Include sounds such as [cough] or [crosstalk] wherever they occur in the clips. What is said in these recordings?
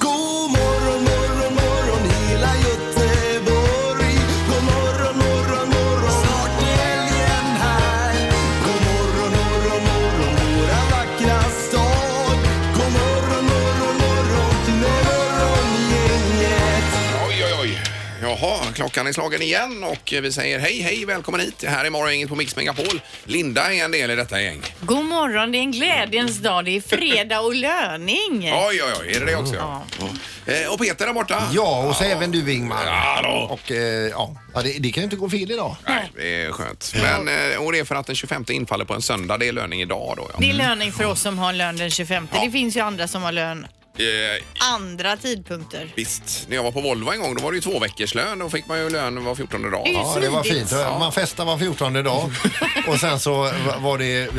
God morgon, morgon, morgon hela Göteborg. God morgon, morgon, morgon. Snart är helgen här. God morgon, morgon, morgon våra vackra stad. God morgon, morgon, morgon till morgongänget. Oj, oj, oj. Jaha, klockan är slagen igen och vi säger hej, hej, välkommen hit. Här är morgongänget på Mix Megapol. Linda är en del i detta gäng. God morgon, det är en glädjens dag. Det är fredag och löning. Oj, oj, oj, är det det också? Ja. Eh, Och Peter där borta. Ja, och så även du Ingmar. Ja, då. Och eh, ja, ja, det, det kan ju inte gå fel idag. Nej, det är skönt. Men, eh, och det är för att den 25 infaller på en söndag. Det är löning idag då. Ja. Det är löning för oss som har lön den 25. Ja. Det finns ju andra som har lön Eh, andra tidpunkter. visst, när jag var på Volvo en gång då var det ju två veckors lön. Då fick man ju lön var 14 dag. Det är ju Ja, det var smidigt. fint. Man festar var 14 dag och sen så var det eh,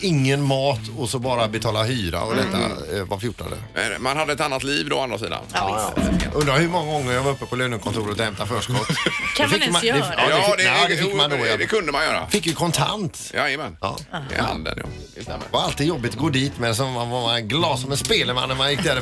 ingen mat och så bara betala hyra och detta eh, var 14. Men Man hade ett annat liv då å andra sidan. Ja, visst. Undrar hur många gånger jag var uppe på lönekontoret och hämtade förskott. Kan Det man fick ens det- göra Ja, det fick, nej, det jo, fick man då. det Jag kunde man göra. fick ju kontant. Jajamän. Ja. I handen, ja. Det stämmer. Det var alltid jobbigt att gå dit men så var man glad som en spelman när man gick därifrån.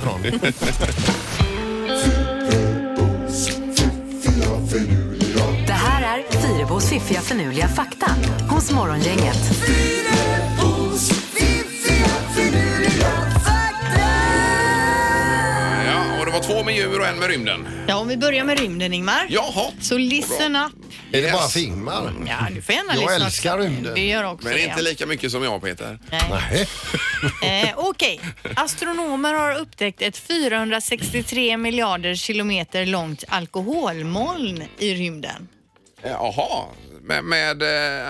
Det här är Fyrabos fiffiga förnuliga fakta hos Morgongänget. Fyrabos fiffiga finurliga fakta. Ja, och det var två med djur och en med rymden. Ja, om vi börjar med rymden, Ingmar. Jaha. Så listen up. Är det Yes. bara filmar? Ja, du får gärna Jag lyssna. älskar rymden. Det gör också Men det. inte lika mycket som jag Peter. Nej. Nej. Eh, Okej, astronomer har upptäckt ett 463 miljarder kilometer långt alkoholmoln i rymden. Eh, Jaha, med, med eh,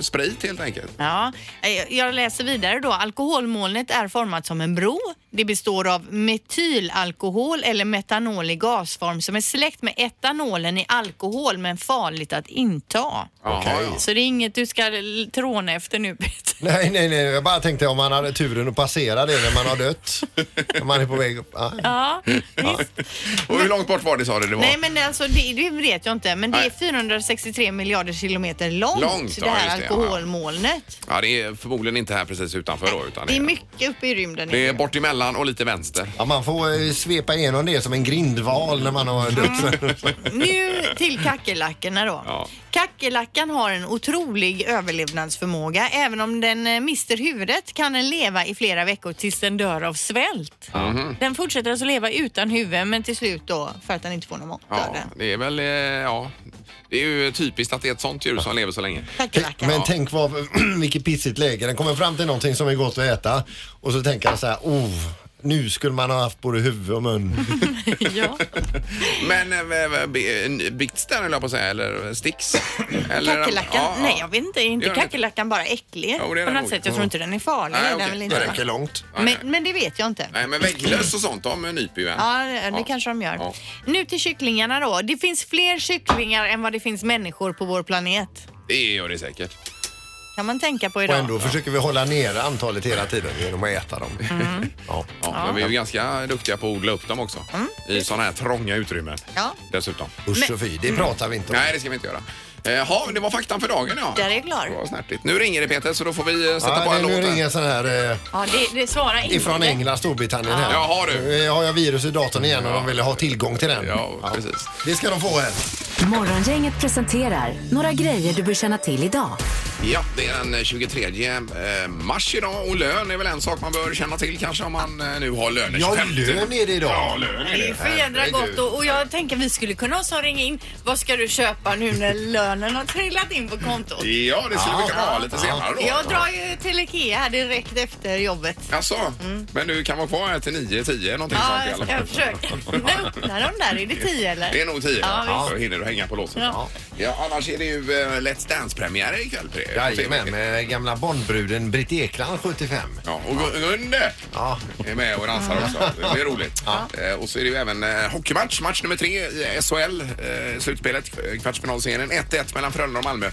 sprit helt enkelt. Ja, eh, jag läser vidare då. Alkoholmolnet är format som en bro. Det består av metylalkohol eller metanol i gasform som är släkt med etanolen i alkohol men farligt att inta. Jaha, Okej. ja. [laughs] Så det är inget du ska l- tråna efter nu [laughs] Peter. Nej, nej, nej. Jag bara tänkte om man hade turen att passera det när man har dött. När man är på väg upp. Ah. Ja, visst. Och hur långt bort var det sa du det var? Nej men alltså det, det vet jag inte. Men det är Nej. 463 miljarder kilometer långt, Långt, ja, det här just det, ja, ja. alkoholmolnet. Ja, det är förmodligen inte här precis utanför då. Utan Det är mycket uppe i rymden. det är bort emellan och lite vänster. Ja, man får eh, svepa igenom det som en grindval när man har [laughs] dött. Nu till kackerlackorna då. Ja. Kackerlackan har en otrolig överlevnadsförmåga. Även om den eh, mister huvudet kan den leva i flera veckor tills den dör av svält. Mhm. Den fortsätter alltså leva utan huvud men till slut då för att den inte får någon mat dör Ja, den. det är väl, eh, ja. Det är ju typiskt att det är ett sånt djur som lever så länge. Kackerlackan. Men tänk vad, [clears throat] vilket pissigt läge. Den kommer fram till någonting som är gott att äta och så tänker han så här, oh, nu skulle man ha haft både huvud och mun. [laughs] ja. Men eh, be- en bits där höll jag på att säga, eller [laughs] sticks? Eller- Kackerlackan? Ja, ja. Nej, jag vet inte. Är inte Gör den kackerlackan bara äcklig? Jo, det är på den nog. något sätt. Jag tror inte den är farlig. Nej, Nej, okej. den vill Det inte. räcker långt. Men, men det vet jag inte. Nej, men vägglöss och sånt, de nyper ju en. Ja, det kanske de gör. Ja. Nu till kycklingarna då. Det finns fler kycklingar än vad det finns människor på vår planet. Det gör det säkert. Kan man tänka på Och idag. ändå försöker vi hålla nere antalet hela tiden genom att äta dem. Ja. Ja, Men vi är ju ganska duktiga på att odla upp dem också. I sådana här trånga utrymmen. Mm. Ja. Dessutom. Usch och fy, det pratar vi inte om. Nej, det ska vi inte göra. Eh, Jaha, det var faktan för dagen ja. Där är jag klar. Det var snärtigt. Nu ringer det Peter så då får vi eh, sätta på Ja, en det, nu låt. ringer här. en sån här eh, Ja, det, det svarar inte. ifrån England, Storbritannien här. Jaha, du. Nu har jag virus i datorn igen och de vill ha tillgång till den. Ja, precis. Det ska de få här. Morgongänget presenterar några grejer du bör känna till idag. Ja, det är den eh, 23 eh, mars idag och lön är väl en sak man bör känna till kanske om man eh, nu har löner. Ja, 25. lön är det idag. Ja, lön är Det är ju det. för jädra Herregud. gott och, och jag tänker vi skulle kunna ha en som ringer in. Vad ska du köpa nu när lönen har trillat in på kontot? Ja, det skulle vi kunna ha lite senare då. Jag drar ju till Ikea här direkt efter jobbet. Jaså? Men du kan vara kvar här till 9, 10 någonting Mm. Ja, sånt i alla fall. jag ska försöka. Men öppnar de där? Är det tio eller? Det är nog 10. Ja, Då hinner du hänga på låset. Ja. Ja. annars är det ju eh, Let's Dance-premiär ikväll. Pre- på Jajamän, TV. med gamla Bondbruden Britt Ekland 75. Ja, och Gun- Gunde Ja. är med och dansar också. Det blir roligt. Eh, Och så är det ju även eh, hockeymatch, match nummer tre i SHL, eh, slutspelet, eh, kvartsfinalserien. 1-1 mellan Frölunda och Malmö.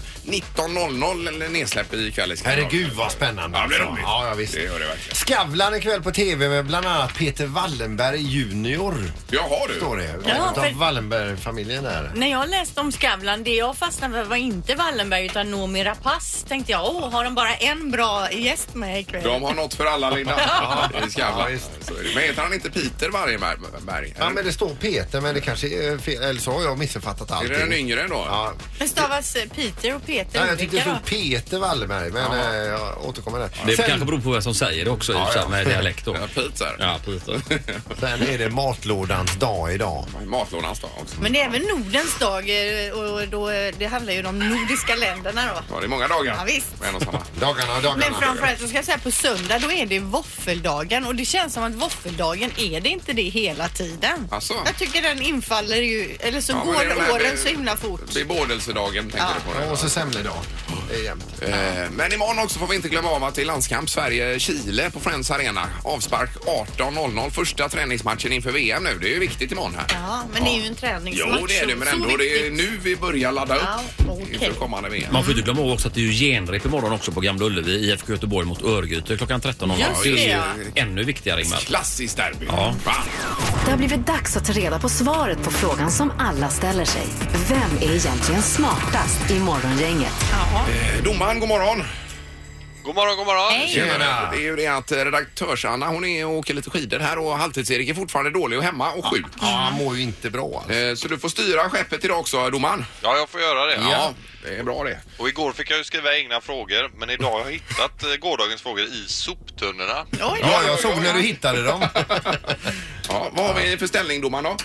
19.00 eller nedsläpp ikväll. i Skandinavien. Herregud vad spännande. Ja, det blir alltså. roligt. Ja, ja, visst. Det gör det verkligen. Skavlan ikväll på TV med bland annat Peter Wallenberg junior. Jaha du. Står det. Ja, Utav för- Wallenberg-familjen där. När jag läste om Skavlan, det jag fastnade för var inte Wallenberg utan Noomi Rapace. Tänkte jag, åh, har de bara en bra gäst med ikväll? De har något för alla Linda. Ja, i [laughs] Ja, Skavlan. visst. Så är det. Men heter han inte Peter Wargenberg? Berg? Ja, men det står Peter, men det kanske är fel. Eller så har jag missuppfattat Är allting. det den yngre då? Ja. Men stavas eh, Peter och Peter Nej, jag tyckte det olika stod Peter Wallenberg, men eh, jag återkommer där. Det sen, kanske beror på vem som säger det också i och för sig med dialekt då. Ja, Peter. Ja, Peter. sen är det matlådans dag idag. Matlådans dag också. Men det är även Nordens dag eh, och då, eh, det handlar ju om de nordiska länderna då. Ja, det är många dagar. Ja, visst. Med en och samma. Dagarna och dagarna. Men framförallt så ska jag säga på söndag då är det våffeldagen och det känns som att våffeldagen är det inte det hela tiden. Asså? Jag tycker den infaller ju, eller så Alltså. Ja, men det är går den här åren be- så himla fort. Bebådelsedagen tänker du på. Ja, Det. och så semledag. Det är jämnt. Eh, Men imorgon också får vi inte glömma av att det är landskamp Sverige-Chile på Friends Arena. Avspark 18.00. Första träningsmatchen inför VM nu. Det är ju viktigt imorgon här. Ja, men det är ju en träningsmatch. Jo, det är det, så- men så ändå det är viktigt. nu vi börjar ladda upp Ja, okej. inför kommande VM. Man får inte glömma också att det är ju genrep imorgon också på Gamla Ullevi. IFK Göteborg mot Örgryte klockan 13.00. Just är det, ju ja. ännu viktigare Ingmar. Klassiskt derby. Ja. Va? Det har blivit dags att ta reda på svaret på frågan som alla ställer sig. Vem är egentligen smartast i Morgongänget? Eh, Domaren, god morgon. God morgon, god morgon. Det är ju det att redaktörs-Anna hon är och åker lite skidor här och halvtids-Erik är fortfarande dålig och hemma och sjuk. Ja, han mår ju inte bra alltså. Eh, Så du får styra skeppet idag också, domaren. Ja, jag får göra det. det är bra det. Och igår fick jag ju skriva egna frågor, men idag har jag hittat eh, gårdagens frågor i soptunnorna. Oj, Ja, jag såg när du hittade dem. Ja, vad har vi för ställning, domaren då?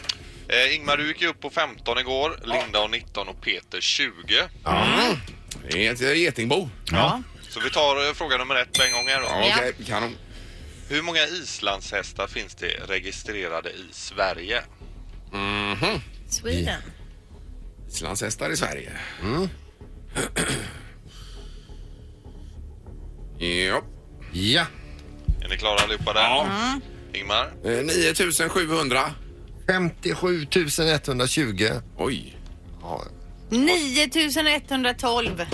Eh, Ingmar, du gick ju upp på 15 igår, Linda och 19 och Peter 20. Det är ett eh, getingbo. Ja. Så vi tar eh, fråga nummer ett på en gång här då. Ja, okej. Kanon. Hur många islandshästar finns det registrerade i Sverige? Sweden. Islandshästar i Sverige. Ja. Ja. Är ni klara allihopa där? Ingmar? Eh, 9700. 57 120. Oj. Ja. 9112.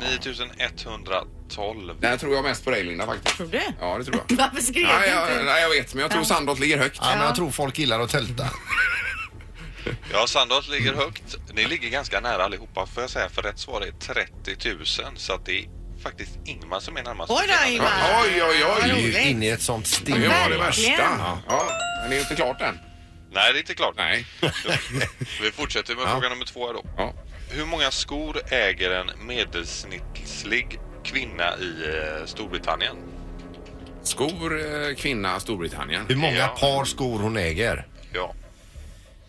9112. Där tror jag mest på dig, Linda, faktiskt. Tror du? Ja, det tror [laughs] jag. Varför skrev Nej, du inte? jag, nej, jag vet, men jag tror Sandholt ligger högt. Ja, men jag tror folk gillar att tälta. Ja, Sandholt ligger högt. Ni ligger ganska nära allihopa får jag säga, för rätt svar är 30 000. Så att det är faktiskt Ingmar som är närmast. Oj då, Ingmar. Oj, oj, Det oj. är roligt. ju inne i ett sånt sting. Det var det Verkligen. värsta. Ja, men det är ju inte klart än. Nej, det är inte klart. Nej. Vi fortsätter med fråga nummer två här då. Ja. Hur många skor äger en medelsnittlig kvinna i eh, Storbritannien? Skor, eh, kvinna, Storbritannien. Hur många Ja. par skor hon äger. Ja.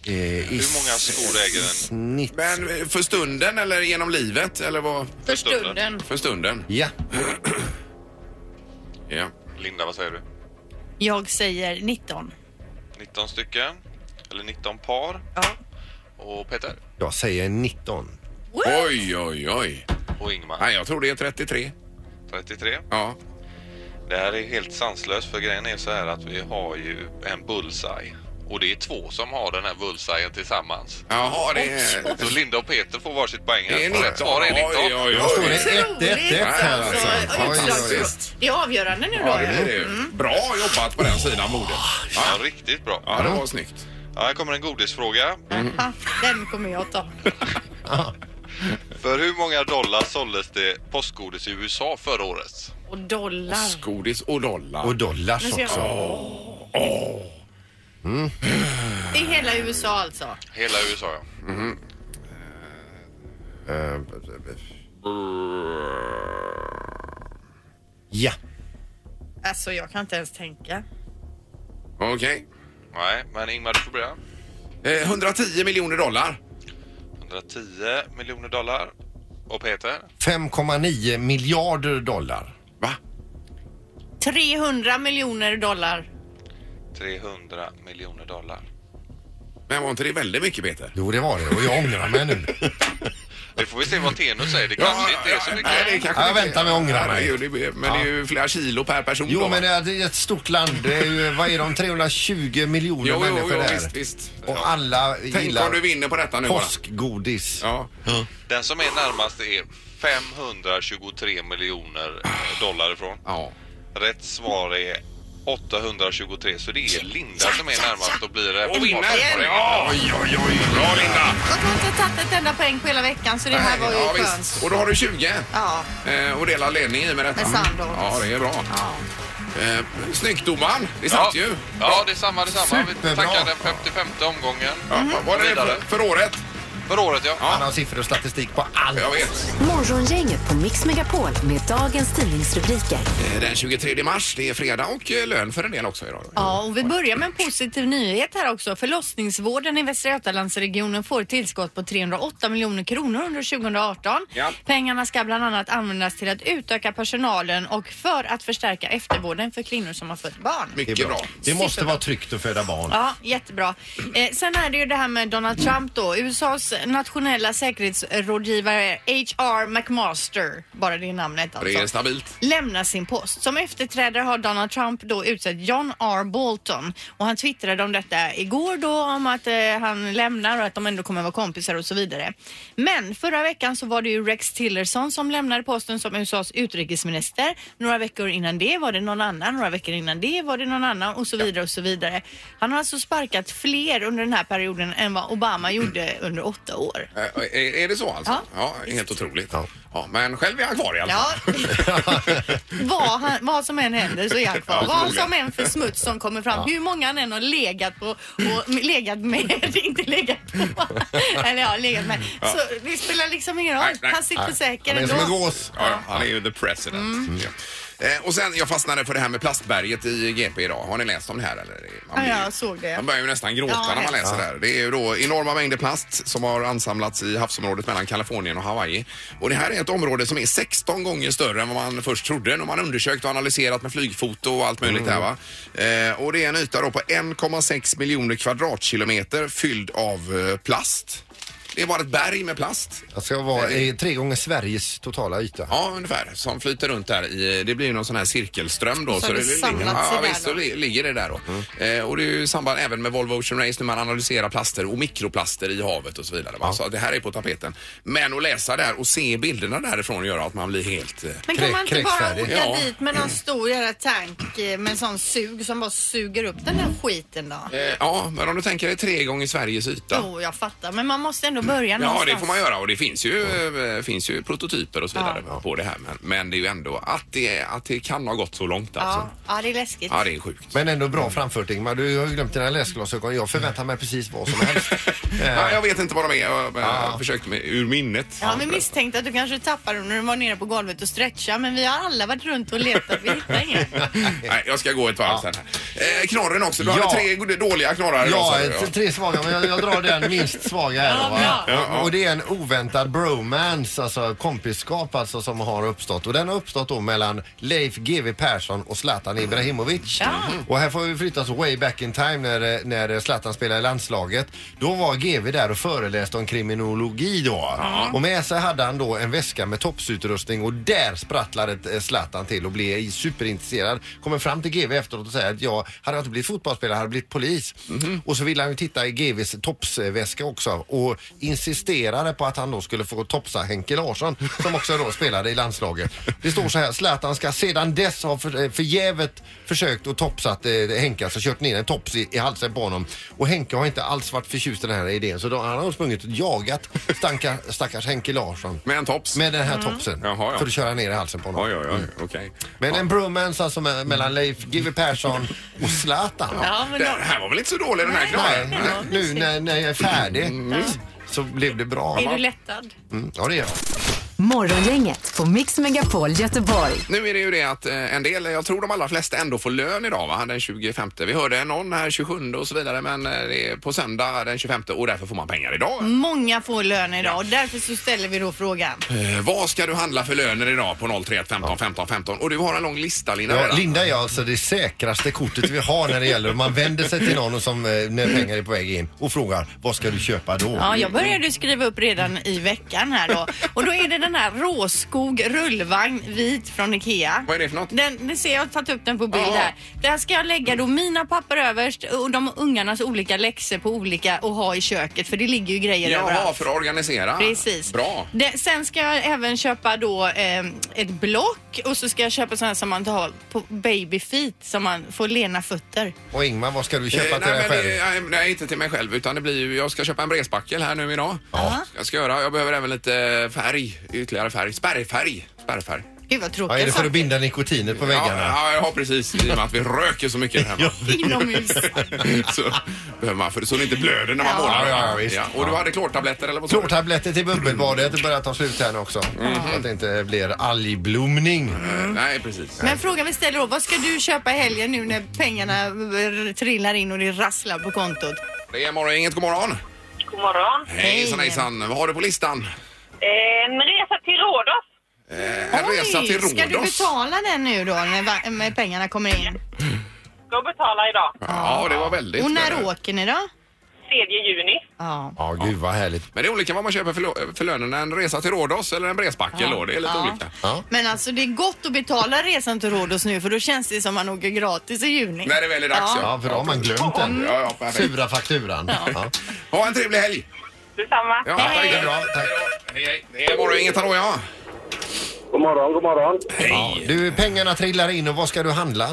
Eh, Hur många skor äger en? Snitt. Men eh, för stunden eller genom livet? Eller vad? För stunden. För stunden. Ja. Ja. Linda, vad säger du? Jag säger 19. 19 stycken. Eller 19 par. Ja. Och Peter? Jag säger 19. Oj, oj, oj. Och Ingmar? Nej, jag tror det är 33. 33. Ja. Det här är helt sanslöst för grejen är så här att vi har ju en bullseye. Och det är två som har den här bullseyen tillsammans. Jaha, det är... Så Linda och Peter får varsitt poäng här. Det är Och Rätt svar är 19. Oj, oj, Då står oj. det Otroligt 1-1-1 här alltså. alltså. Oj, oj, oj. Utslagsfråga. Det är avgörande nu då. Ja, det blir det ju. Bra jobbat på den sidan bordet. Ja, riktigt bra. Ja, det var snyggt. Ja, här kommer en godisfråga. Mm. Ha, Den kommer jag ta. För hur många dollar såldes det postgodis i USA förra året? Och dollar. Godis och Och dollar. dollars Nu ser jag. också. I hela USA alltså. Hela USA, ja. Eh, Ja. Alltså jag kan inte ens tänka. Okej. Nej, men Ingmar, du får börja. Eh, 110 miljoner dollar. 110 miljoner dollar. Och Peter? 5,9 miljarder dollar. Va? 300 miljoner dollar. 300 miljoner dollar. Men var inte det väldigt mycket, Peter? [laughs] Jo, det var det. Och jag ångrar mig nu. Vi får vi se vad Tenus säger. Det kanske inte är så mycket. nej, det kanske Ja, jag inte är. väntar med ångrar mig. Nej, det är ju- Men det är ju flera kilo per person. Ah. Jo, då, men va? det är det är ett stort land. Det är ju, vad är de, 320 miljoner Jo, jo, människor jo, där. visst, visst. Ja. Och alla Tänk gillar om du vinner på detta nu bara. påskgodis. Ja. Den som är närmast är 523 miljoner eh, dollar ifrån. ja. Rätt svar är 823 så det är Linda som är närmast och blir det. Och vinner! Ja, Ja, Oj, oj, oj. Bra Linda! Jag har inte tagit ett enda poäng på hela veckan så det här var ju ja, skönt. visst. Och då har du 20 Ja. eh, och delar ledning i med detta. Med Sandholt. Ja, det är bra. Eh, snyggt domaren, det satt ju. Ja, detsamma, detsamma. Vi Superbra. tackar den 55 omgången. Ja, vad Var det det Vidare. för, för året? För året, ja. Han har siffror och statistik på allt. Jag vet. Morgongänget på Mix Megapol med dagens tidningsrubriker. Eh, Den 23 mars, det är fredag och eh, lön för en del också idag. Ja, och vi börjar med en positiv nyhet här också. Förlossningsvården i Västra Götalandsregionen får ett tillskott på 308 miljoner kronor under 2018. Ja. Pengarna ska bland annat användas till att utöka personalen och för att förstärka eftervården för kvinnor som har fött barn. Mycket Det är bra. bra. Det måste vara tryggt att föda barn. Ja, jättebra. Eh, sen är det ju det här med Donald Trump då. USAs nationella säkerhetsrådgivare H.R. McMaster, bara det namnet alltså Det är stabilt. lämnar sin post. Som efterträdare har Donald Trump då utsett John R. Bolton och han twittrade om detta igår då om att eh, han lämnar och att de ändå kommer vara kompisar och så vidare. Men förra veckan så var det ju Rex Tillerson som lämnade posten som USAs utrikesminister. Några veckor innan det var det någon annan, några veckor innan det var det någon annan och så vidare och så vidare. Han har alltså sparkat fler under den här perioden än vad Obama gjorde under åtta år. Eh, Är, är det så alltså? Ja. Ja, helt otroligt. Ja. men själv är han kvar i alla Ja. [laughs] fall. vad, han, vad som än händer så är han kvar. Ja, vad förmodligen. som än för smuts som kommer fram. Hur många han än har legat på och legat med, [laughs] inte legat [laughs] på, eller ja, legat med. Så det spelar liksom ingen roll. Nej, nej, han sitter säker Han är som en ändå. gås. Ja, han är ju the president. Mm. Ja. Eh, och sen, jag fastnade för det här med plastberget i GP idag. Har ni läst om det här eller? Man Ja, blir ju- jag såg det. Man börjar ju nästan gråta Ja, när man det. läser det här. Det är ju då enorma mängder plast som har ansamlats i havsområdet mellan Kalifornien och Hawaii. Och det här är ett område som är 16 gånger större än vad man först trodde när man undersökt och analyserat med flygfoto och allt möjligt där va. Eh, och det är en yta då på 1,6 miljoner kvadratkilometer fylld av eh, plast. Det är bara ett berg med plast. Jag ska vara eh, tre gånger Sveriges totala yta. Ja, ungefär. Som flyter runt där. I, det blir ju någon sån här cirkelström då. Så det samlas ja, i där visst, då. så li- ligger det där då. Eh, och det är ju i samband även med Volvo Ocean Race när man analyserar plaster och mikroplaster i havet och så vidare. va? Så det här är på tapeten. Men att läsa där och se bilderna därifrån gör att man blir helt... Eh, Men kan man inte bara Kräkfärdig. åka Ja. dit med någon stor jävla tank eh, med en sån sug som bara suger upp den här skiten då? eh, ja, men om du tänker dig tre gånger Sveriges yta. Jo, jag fattar. Men man måste ändå börja Ja, någonstans. det får man göra och det finns ju, eh, finns ju prototyper och så vidare på det här. Men, men det är ju ändå att det, att det kan ha gått så långt alltså. Ja, ja det är läskigt. Ja, det är sjukt. Men ändå bra framfört Ingmar. Du har ju glömt dina läsglasögon. Jag förväntar mig precis vad som [laughs] helst. Eh. Ja, jag vet inte vad de är. Jag, jag försökte med, ur minnet. Ja, vi misstänkte att du kanske tappade dem när du var nere på golvet och stretchade men vi har alla varit runt och letat. Vi hittar [laughs] ingen. Nej, jag ska gå ett varv sen. här. Eh, knorren också. Du Ja. hade tre go- dåliga knorrar idag, Ja, sa du, t- tre svaga, men jag, jag drar den minst svaga här. då, Ja, bra. va? Och det är en oväntad bromance, alltså kompisskap alltså, som har uppstått. Och den har uppstått då mellan Leif GW Persson och Zlatan Ibrahimovic. Och här får vi flytta så way back in time när, eh, när Zlatan spelade i landslaget. Då var GW där och föreläste om kriminologi då. Och med sig hade han då en väska med topsutrustning och där sprattlade eh, Zlatan till och blev superintresserad. Kommer fram till GW efteråt och säger att jag hade jag inte blivit fotbollsspelare hade jag blivit polis. Och så ville han ju titta i GVs topsväska också och insisterade på att han då skulle få topsa Henke Larsson som också då spelade i landslaget. Det står så här, Zlatan ska sedan dess ha för, eh, förgävet försökt och topsat eh, Henke, alltså kört ner en tops i, i halsen på honom. Och Henke har inte alls varit förtjust i den här idén så då, han har sprungit och jagat stankar, stackars Henke Larsson Med en tops? med den här topsen Mm. Jaha, ja. för att köra ner i halsen på honom. Oj, oj, oj. Okej. Men en bromance alltså me- mellan Leif GW [laughs] Persson och Zlatan. Ja, men Det då, här var väl inte så dålig den här Nej, knorren? nej, Mm, nu när, när jag är färdig så blev det bra. är du lättad? Mm, ja, det är jag. Morgongänget på Mix Megapol Göteborg. Nu är det ju det att eh, en del, jag tror de allra flesta ändå får lön idag va? den 25. Vi hörde någon här 27 och så vidare men eh, det är på söndag den 25 och därför får man pengar idag. Många får lön idag och därför så ställer vi då frågan. Eh, vad ska du handla för löner idag på 031 15 15 15? Och du har en lång lista Linda. Ja, redan. Linda är alltså det säkraste kortet vi har när det gäller om man vänder sig till någon som, eh, när pengar är på väg in och frågar vad ska du köpa då? Ja, jag började skriva upp redan i veckan här då. Mm. [laughs] Och då är det den här råskog rullvagn vit från IKEA. Vad är det för något? Den, den ser jag har tagit upp den på bild Ja. här. Där ska jag lägga då mina papper överst och de ungarnas olika läxor på olika och ha i köket för det ligger ju grejer Jaha, överallt. för att organisera. Precis. Ah, Bra. Det, sen ska jag även köpa då eh, ett block och så ska jag köpa sådana som man tar på baby feet som man får lena fötter. Och Ingmar, vad ska du köpa Eh, till nej, dig men själv? det- nej, nej, inte till mig själv utan det blir ju, jag ska köpa en bredspackel här nu idag. Ja. Jag ska göra, jag behöver även lite färg, ytterligare färg, spärrfärg. Spärrfärg. Gud vad Ja, är det tråkigt. för att binda nikotiner på väggarna? Ja, ja, ja, precis. I och med att vi röker så mycket här hemma. Inomhus. [laughs] så behöver man, för så det inte blöder när man Ja. målar. Ja, ja, visst. och du hade klortabletter eller vad sa du? Klortabletter till bubbelbadet börjar ta slut här nu också. Mhm. Så att det inte blir algblomning. Eh, Nej, precis. Men frågan vi ställer då, vad ska du köpa i helgen nu när pengarna eh, trillar in och det rasslar på kontot? Det är morgon, inget god morgon. God morgon. Eh, Hejsan, hejsan. Vad har du på listan? En resa till Rhodos. Eh, en resa till Rhodos. Ska du betala den nu då när va- när pengarna kommer in? Ska betala idag. Ja, det var väldigt. Och när men- åker ni då? 3 juni. Ja. Ja, gud vad härligt. Men det är olika vad man köper för, lo- för lönen. En resa till Rhodos eller en bredspackel då. Det är lite Ja. olika. Ja. Men alltså det är gott att betala resan till Rhodos nu för då känns det som man åker gratis i juni. När det väl är dags, ja. Ja, för då har man glömt den. Ja, ja, perfekt. Sura fakturan. Ja. Ha en trevlig helg! Detsamma. Ja, Tack, det är bra. Tack. Hej, hej. Det är morgon, inget hallå, ja. God morgon, god morgon. Ja, du, pengarna trillar in och vad ska du handla?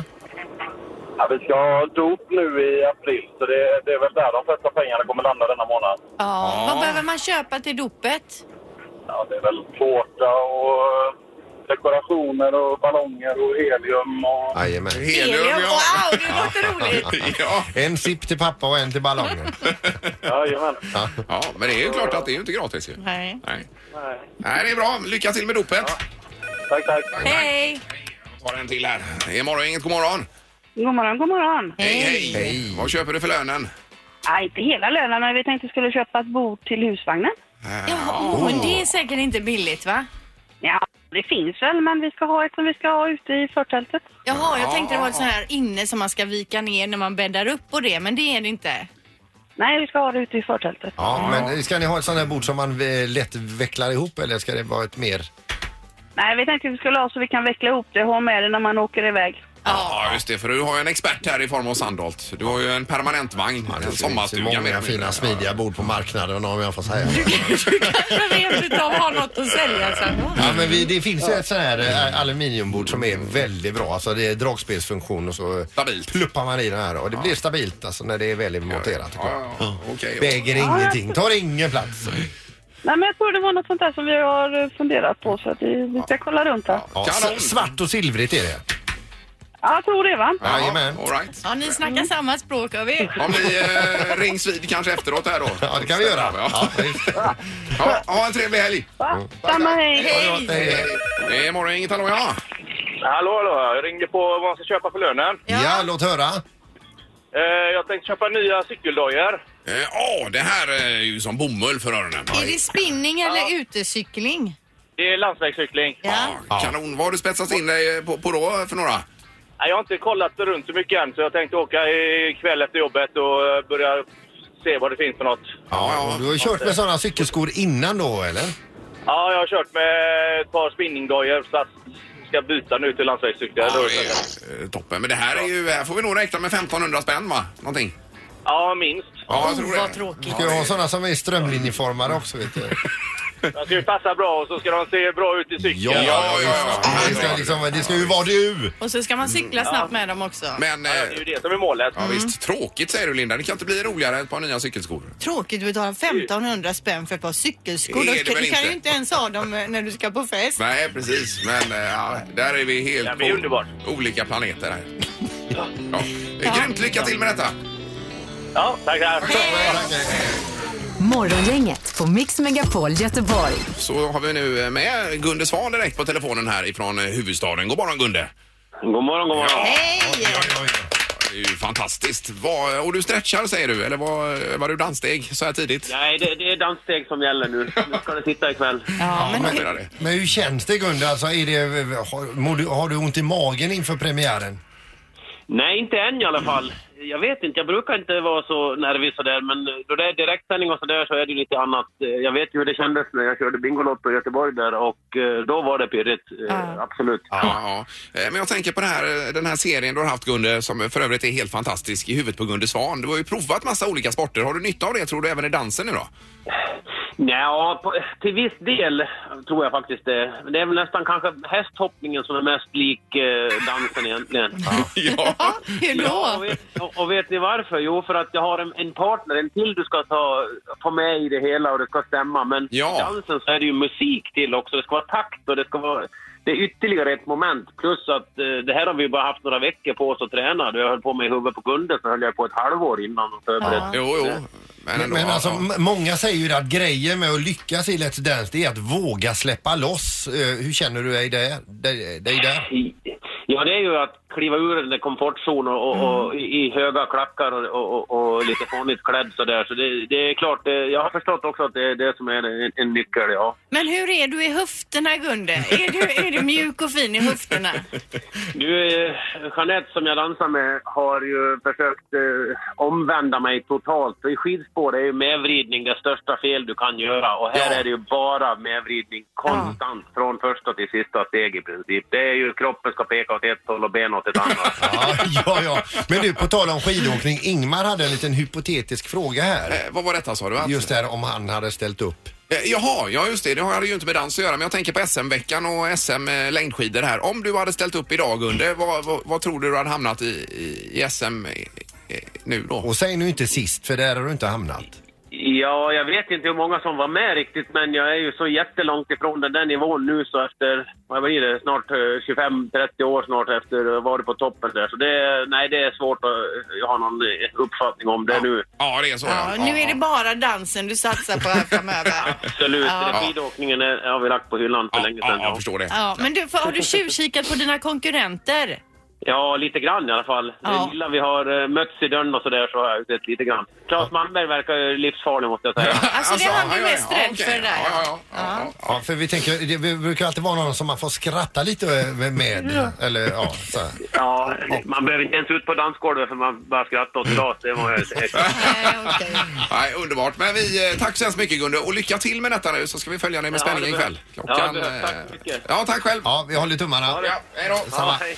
Ja, vi ska ha dop nu i april, så det, det är väl där de flesta pengarna kommer landa denna månad. Ja. Vad behöver man köpa till dopet? Ja, det är väl tårta och eh, dekorationer och ballonger och helium och... Jajamän. Helium, ja. Wow, det låter [laughs] roligt! [laughs] ja. En sipp till pappa och en till [laughs] ballongen. Jajamän. Ja, men det är ju klart att det är ju inte gratis ju. Nej. Nej. Nej. Nej, det är bra. Lycka till med dopet. Tack, tack. Hej! Jag tar en till här. Det är morgon, inget god morgon. God morgon, god morgon. Hej, hej. Vad köper du för lönen? Nej, inte hela lönen, men vi tänkte skulle köpa ett bord till husvagnen. Jaha, oh, det är säkert inte billigt va? Ja, det finns väl, men vi ska ha ett som vi ska ha ute i förtältet. Jaha, jag tänkte det var ett sånt här inne som man ska vika ner när man bäddar upp och det, men det är det inte. Nej, vi ska ha det ute i förtältet. Ja, men ska ni ha ett sånt här bord som man eh, lätt vecklar ihop eller ska det vara ett mer? eh, Nej, vi tänkte vi skulle ha så vi kan veckla ihop det och ha med det när man åker iväg. Ja, just det. För du har ju en expert här i form av Sandholt. Du har ju en permanent vagn, en sommarstuga. Det finns ju mer många eller mindre. fina smidiga bord på marknaden om jag [laughs] får säga. Jag vet inte om har något att sälja sen. Ja, men vi, det finns ju ett sånt här eh, aluminiumbord som är väldigt bra. Alltså det är dragspelsfunktion och så eh, Stabilt. pluppar man i den här och det blir stabilt alltså när det är väl monterat. tycker jag. Ja, ja, Okej. Väger ingenting, tar ingen plats. Nej, men jag tror det var något sånt där som vi har eh, funderat på, så att vi, vi ska kolla runt här. Ja, Kanon. s- svart och silvrigt är det. Ja, jag tror det, va? Jajamän. all right. Ja, ni snackar samma språk av er. Om ni eh, rings vid kanske efteråt här då. Ja, det kan vi göra. Ja. Ja, ha en trevlig helg. Va? Ah, Samma, hej. Hej, hej. Det är morgon, inget hallå, ja. Hallå, hallå. Jag ringde på vad man ska köpa för lönen. Ja, låt höra. Eh, jag tänkte köpa nya cykeldojor. Ja, eh, åh, det här är ju som bomull för öronen. Är det spinning eller utecykling? Det är landsvägscykling. Ja. Ja. Kanon. Vad har du spetsat in dig på, på då eh, för några? Nej, Jag har inte kollat runt så mycket än, så jag tänkte åka ikväll efter jobbet och eh, börja se vad det finns för något. ja. Ja, du har ju kört med sådana cykelskor innan då eller? Ja, jag har kört med ett par spinningdojor så att ska byta nu till landsvägscykel. Ja, det är, eh, toppen. Men det här är ju, här får vi nog räkna med 1500 spänn va? Någonting. Ja, minst. Ja, Oh, vad tråkigt. Ska jag ha sådana som är strömlinjeformade också vet du? De ska ju passa bra och så ska de se bra ut i cykeln. Ja, ja, ja. ja. Det ska, liksom, det ska ju vara du! Och så ska man cykla snabbt med dem också. Mm. Men eh, Ja, Det är ju det som är målet. ja, visst, Mm. tråkigt säger du Linda. Det kan inte bli roligare än ett par nya cykelskor. Tråkigt att betala 1500 spänn för ett par cykelskor. Det är Då det ska- väl Du kan inte. ju inte ens ha dem eh, när du ska på fest. Nej, precis. Men eh, ja, där är vi helt Ja, det är på underbart. olika planeter här. Ja. Ja. Grymt lycka till med detta! Ja, tack. tack. Tack, hej. Morgongänget på Mix Megapol Göteborg. Så har vi nu med Gunde Svan direkt på telefonen här ifrån eh, huvudstaden. God morgon Gunde! God morgon, god morgon. Det är ju fantastiskt. Vad- och du stretchar säger du, eller var, var du danssteg så här tidigt? Nej, det, det är danssteg som gäller nu. Nu ska det sitta ikväll. Ja, men det. Men hur känns det Gunde? Alltså, är det, har, mår du, har du ont i magen inför premiären? Nej, inte än i alla fall. Jag vet inte, jag brukar inte vara så nervig sådär, men då det är direktsändning och sådär så är det ju lite annat. Eh, Jag vet ju hur det kändes när jag körde Bingolotto i Göteborg där och eh, då var det pirrigt, eh, absolut. Ja, ja. Eh, Men jag tänker på det här, den här serien du har haft Gunde, som för övrigt är helt fantastisk, i huvudet på Gunde Svan. Du har ju provat massa olika sporter. Har du nytta av det tror du även i dansen nu då? Ja, på, till viss del tror jag faktiskt det. Men Det är väl nästan kanske hästhoppningen som är mest lik eh, dansen egentligen. [laughs] Ja. Hur då? och, vet, och, och vet ni varför? Jo, för att jag har en, en partner, en till du ska ta, få med i det hela och det ska stämma. Men Ja. i dansen så är det ju musik till också. Det ska vara takt och det ska vara... Det är ytterligare ett moment. Plus att eh, det här har vi ju bara haft några veckor på oss att träna. Jag höll på med i huvudet på Gunde så höll jag på ett halvår innan och förberedde. Jo, jo. Men, Men alltså, m- många säger ju att grejen med att lyckas i Let's Dance det är att våga släppa loss. Eh, Hur känner du dig där? dig, dig där? Ja, det är ju att kliva ur den där komfortzonen och, och, Mm. och i i höga klackar och, och, och, och lite fånigt klädd sådär. Så det, det är klart, eh, jag har förstått också att det är det som är en, en nyckel, ja. Men hur är du i höfterna Gunde? Är du, är du mjuk och fin i höfterna? Du, eh, Jeanette som jag dansar med har ju försökt eh, omvända mig totalt. För i skidspår är ju medvridning det största fel du kan göra. Och här är det ju bara medvridning konstant från första till sista steg i princip. Det är ju kroppen ska peka åt ett håll och ben åt ett annat. Ja, ja. Men du, på tal om skidåkning. Ingmar hade en liten hypotetisk fråga här. Eh, vad var detta sa du? Just det här om han hade ställt upp. Eh, Jaha, ja just det. Det har ju inte med dans att göra. Men jag tänker på SM-veckan och SM eh, längdskidor här. Om du hade ställt upp idag Gunde, vad, vad, vad tror du du hade hamnat i, i, i SM eh, eh, nu då? Och säg nu inte sist, för där har du inte hamnat. Ja, jag vet inte hur många som var med riktigt, men jag är ju så jättelångt ifrån den där nivån nu så efter, vad blir det, snart eh, 25-30 år snart efter eh, var det på toppen där. Så det, nej, det är svårt att eh, ha någon eh, uppfattning om det nu. Ja, det är så. Ja, nu är det bara dansen du satsar på här framöver. Absolut, Ja. ja. skidåkningen är, har vi lagt på hyllan för länge sedan. Ja, jag förstår det. Ja, men du, för, har du tjuvkikat på dina konkurrenter? Ja, lite grann i alla fall. Ja. Det lilla vi har eh, mötts i dörren och sådär så har jag utrett lite grann. Claes Malmberg verkar ju livsfarlig måste jag säga. Alltså, det är han du är mest rädd för det där. Ja, för vi tänker, det det brukar alltid vara någon som man får skratta lite eh, med. Eller ja, så här. Ja, man behöver inte ens ut på dansgolvet för man bara skrattar åt glas. Det var [laughs] jag [laughs] säker Nej, underbart. Men vi, eh, tack så hemskt mycket Gunde och lycka till med detta nu så ska vi följa dig med Ja, spänning det ikväll. behövs. Klockan... Ja, det behövs. eh, Ja, tack själv. Ja, vi håller tummarna. Ja, hej då. Samma. Hej.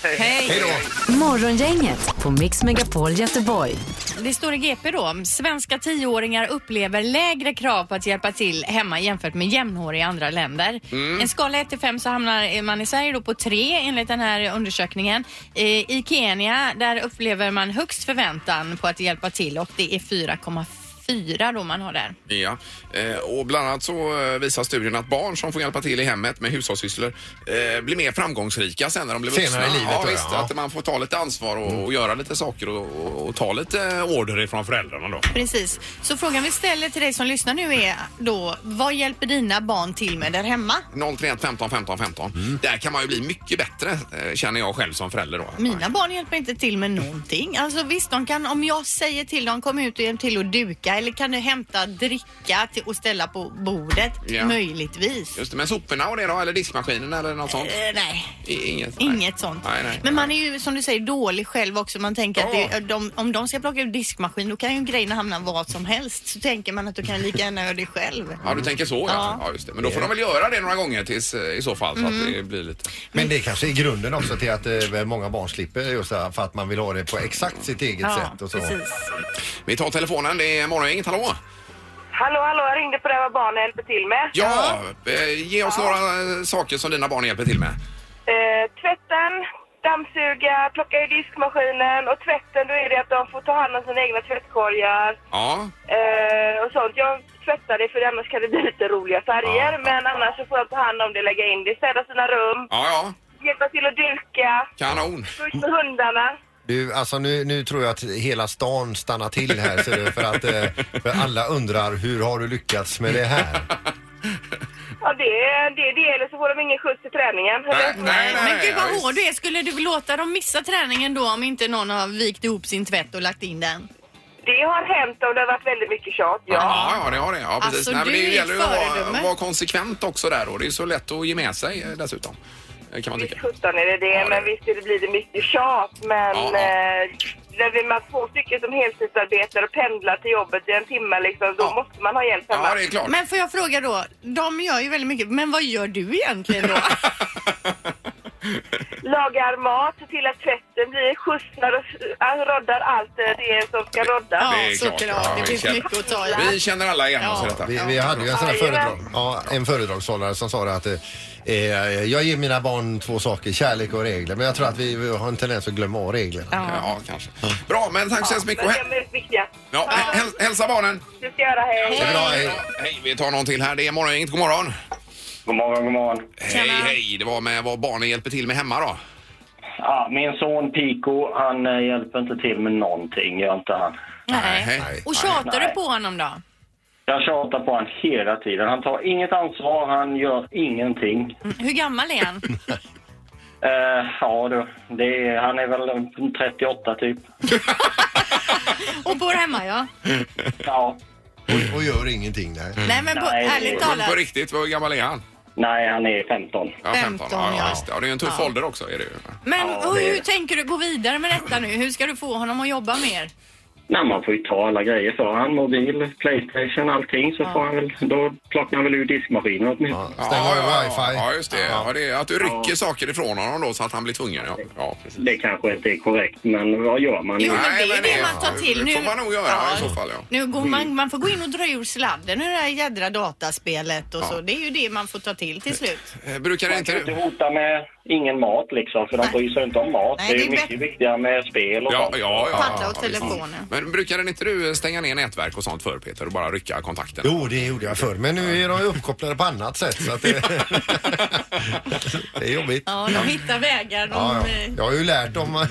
Hej då. Morgongänget på Mix Megapol Göteborg. Det står i GP då. Svenska tioåringar upplever lägre krav på att hjälpa till hemma jämfört med jämnåriga i andra länder. Mm. En skala 1 till 5 så hamnar man i Sverige då på 3 enligt den här undersökningen. Eh, I Kenya där upplever man högst förväntan på att hjälpa till och det är 4,4 då man har där. Ja, eh, och bland annat så eh, visar studien att barn som får hjälpa till i hemmet med hushållssysslor eh, blir mer framgångsrika sen när de blir vuxna. Senare i livet, Ja, tror jag, visst, ja. att man får ta lite ansvar och, och göra lite saker och, och, och ta lite order ifrån föräldrarna då. Precis. Så frågan vi ställer till dig som lyssnar nu är då vad hjälper dina barn till med där hemma? 031 15 15 15. Mm. Där kan man ju bli mycket bättre eh, känner jag själv som förälder då. Mina barn hjälper inte till med någonting. Alltså visst, de kan, om jag säger till dem, kom ut och hjälp till att duka eller kan du hämta dricka till, och ställa på bordet? Ja. Möjligtvis. Just det, men soporna och det då? Eller diskmaskinen eller något sånt? Eh, nej, I- Inget? inget sånt. Nej, nej. Men man är ju som du säger dålig själv också. Man tänker att det, de, om de ska plocka ur diskmaskin då kan ju grejerna hamna vad som helst. Så tänker man att du kan lika gärna göra det själv. Ja, du tänker så ja. ja just det. Men då får de väl göra det några gånger tills, eh, i så fall så att Mm. det blir lite... Men det kanske är grunden också till att eh, många barn slipper just det här för att man vill ha det på exakt sitt eget Ja, sätt. Och så. precis. Vi tar telefonen. Det är Morgongänget. Hallå! Hallå, hallå, jag ringde på det här vad barnen hjälper till med. Ja! eh, Ge oss några eh, saker som dina barn hjälper till med. Eh, tvätten, dammsuga, plocka i diskmaskinen och tvätten då är det att de får ta hand om sina egna tvättkorgar Ja. eh, och sånt. Jag tvättar det för annars kan det bli lite roliga färger men annars så får jag ta hand om det, lägga in det, städa sina rum, Ja, ja. hjälpa till att duka, Kanon. gå ut med hundarna. Du, alltså nu, nu tror jag att hela stan stannar till här ser du, för att eh, för alla undrar hur har du lyckats med det här? Ja, det är det, är det eller så får de ingen skjuts till träningen. eller? Men gud vad hård du är. Skulle du låta dem missa träningen då om inte någon har vikt ihop sin tvätt och lagt in den? Det har hänt och det har varit väldigt mycket tjat, ja. Ja, ja, det har det. Ja, precis. Alltså, Nej, men du det är gäller ju att vara, föredöme. vara konsekvent också där och det är så lätt att ge med sig eh, dessutom. eh, Kan man tycka. Sjutton är det det, men visst är det- blir det mycket tjat. Men Ja, eh, när vi man två stycken som heltidsarbetar och pendlar till jobbet i en timme liksom, då måste man ha hjälp hemma. Ja, det är klart. Men får jag fråga då, de gör ju väldigt mycket, men vad gör du egentligen då? [laughs] Lagar mat, ser till att tvätten blir, skjutsar och eh, roddar allt eh, det som ska roddas. Det är klart, ja, vi känner- Vi känner alla igen oss i detta. Vi, vi hade ju en sån här Ja, jajamän. föredrag, ja, en föredragshållare som sa det att eh, eh, jag ger mina barn två saker, kärlek och regler. Men jag tror att vi, vi har en tendens att glömma av reglerna. Ja. Ja, kanske. Bra, men tack så hemskt mycket. Men Och de hä- är väldigt viktiga. Ja, häl- hälsa barnen. Eh, Det ska jag göra, hej. Hej, vi tar någon till här. Det är morgongänget. God morgon. God morgon, god morgon. Hej, hej. Det var med vad barnen hjälper till med hemma då. Ja, min son Pico, han eh, hjälper inte till med någonting, gör inte han. Nej. Och tjatar du på honom då? Jag tjatar på honom hela tiden. Han tar inget ansvar, han gör ingenting. Mm, Hur gammal är han? Eh, ja du, det är, han är väl 38 typ. Och bor hemma ja. Ja. Och, och gör ingenting där. Nej, men på- ärligt talat. På riktigt, vad gammal är han? Nej, han är 15. Ja, 15. Ja, ja. ja. Just det. ja, det är en tuff Ja. ålder också. Är det ju. Men Ja, hur, det- hur tänker du gå vidare med detta nu? Hur ska du få honom att jobba mer? Nej, man får ju ta alla grejer för han. Mobil, Playstation, allting. Så får han väl, då plockar han väl ur diskmaskinen åtminstone. ja, ja, ja, ja, just det. Ja. det är att du rycker saker ifrån honom då så att han blir tvungen. Ja, ja precis. Det kanske inte är korrekt, men vad gör man? Jo, men det är det man tar till Det nu. får man nog göra Ja. i så fall. Ja. Nu går man, man får gå in och dra ur sladden ur det här jädra dataspelet och så. Det är ju det man får ta till till slut. Eh, Brukar man kan inte hota med ingen mat liksom, för de bryr sig inte om mat. Nej, det är, det är ju mycket viktigare med spel och Ja, sånt. ja, ja. Paddla och visst. telefonen. Men brukade inte du stänga ner nätverk och sånt förr Peter och bara rycka kontakten? Jo, det gjorde jag förr, men nu är de ju uppkopplade på annat sätt. Så att det, [laughs] det är jobbigt. Ja, de hittar vägar. De, Ja, ja. eh, Jag har ju lärt dem eh,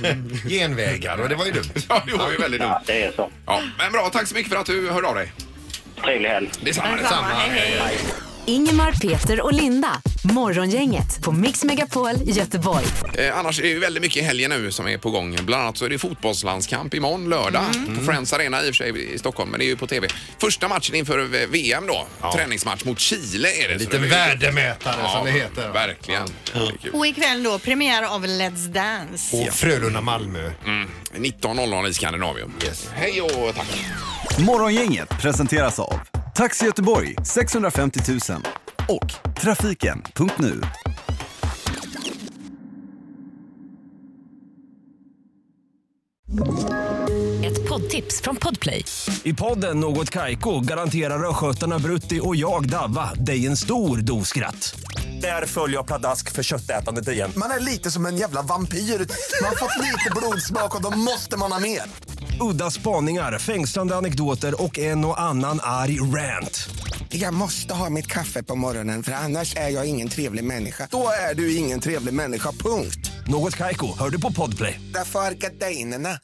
genvägar och det var ju dumt. Ja, det var ju väldigt dumt. Det är så. Ja, men bra, tack så mycket för att du hörde av dig. Trevlig helg. Detsamma, Detsamma. detsamma. Hej, Ingemar, Peter och Linda. Morgongänget på Mix Megapol Göteborg. Eh, annars är det ju väldigt mycket i helgen nu som är på gång. Bland annat så är det fotbollslandskamp imorgon lördag på Friends Arena i och för sig i Stockholm, men det är ju på TV. Första matchen inför eh, VM då. Träningsmatch mot Chile är det. En liten värdemätare som det heter. Verkligen. Och ikväll då premiär av Let's Dance. Och Frölunda-Malmö. Mm. 19.00 i Skandinavien. Hej och tack. Morgongänget presenteras av Taxi Göteborg 650 000 och Trafiken.nu. Ett poddtips från Podplay. I podden Något Kaiko garanterar östgötarna Brutti och jag, Davva, dig en stor dos skratt. Där följer jag pladask för köttätandet igen. Man är lite som en jävla vampyr. Man har fått lite blodsmak och då måste man ha mer. Udda spaningar, fängslande anekdoter och en och annan arg rant. Jag måste ha mitt kaffe på morgonen för annars är jag ingen trevlig människa. Då är du ingen trevlig människa, punkt. Något Kaiko, hör du på Podplay. Därför arkadeinerna.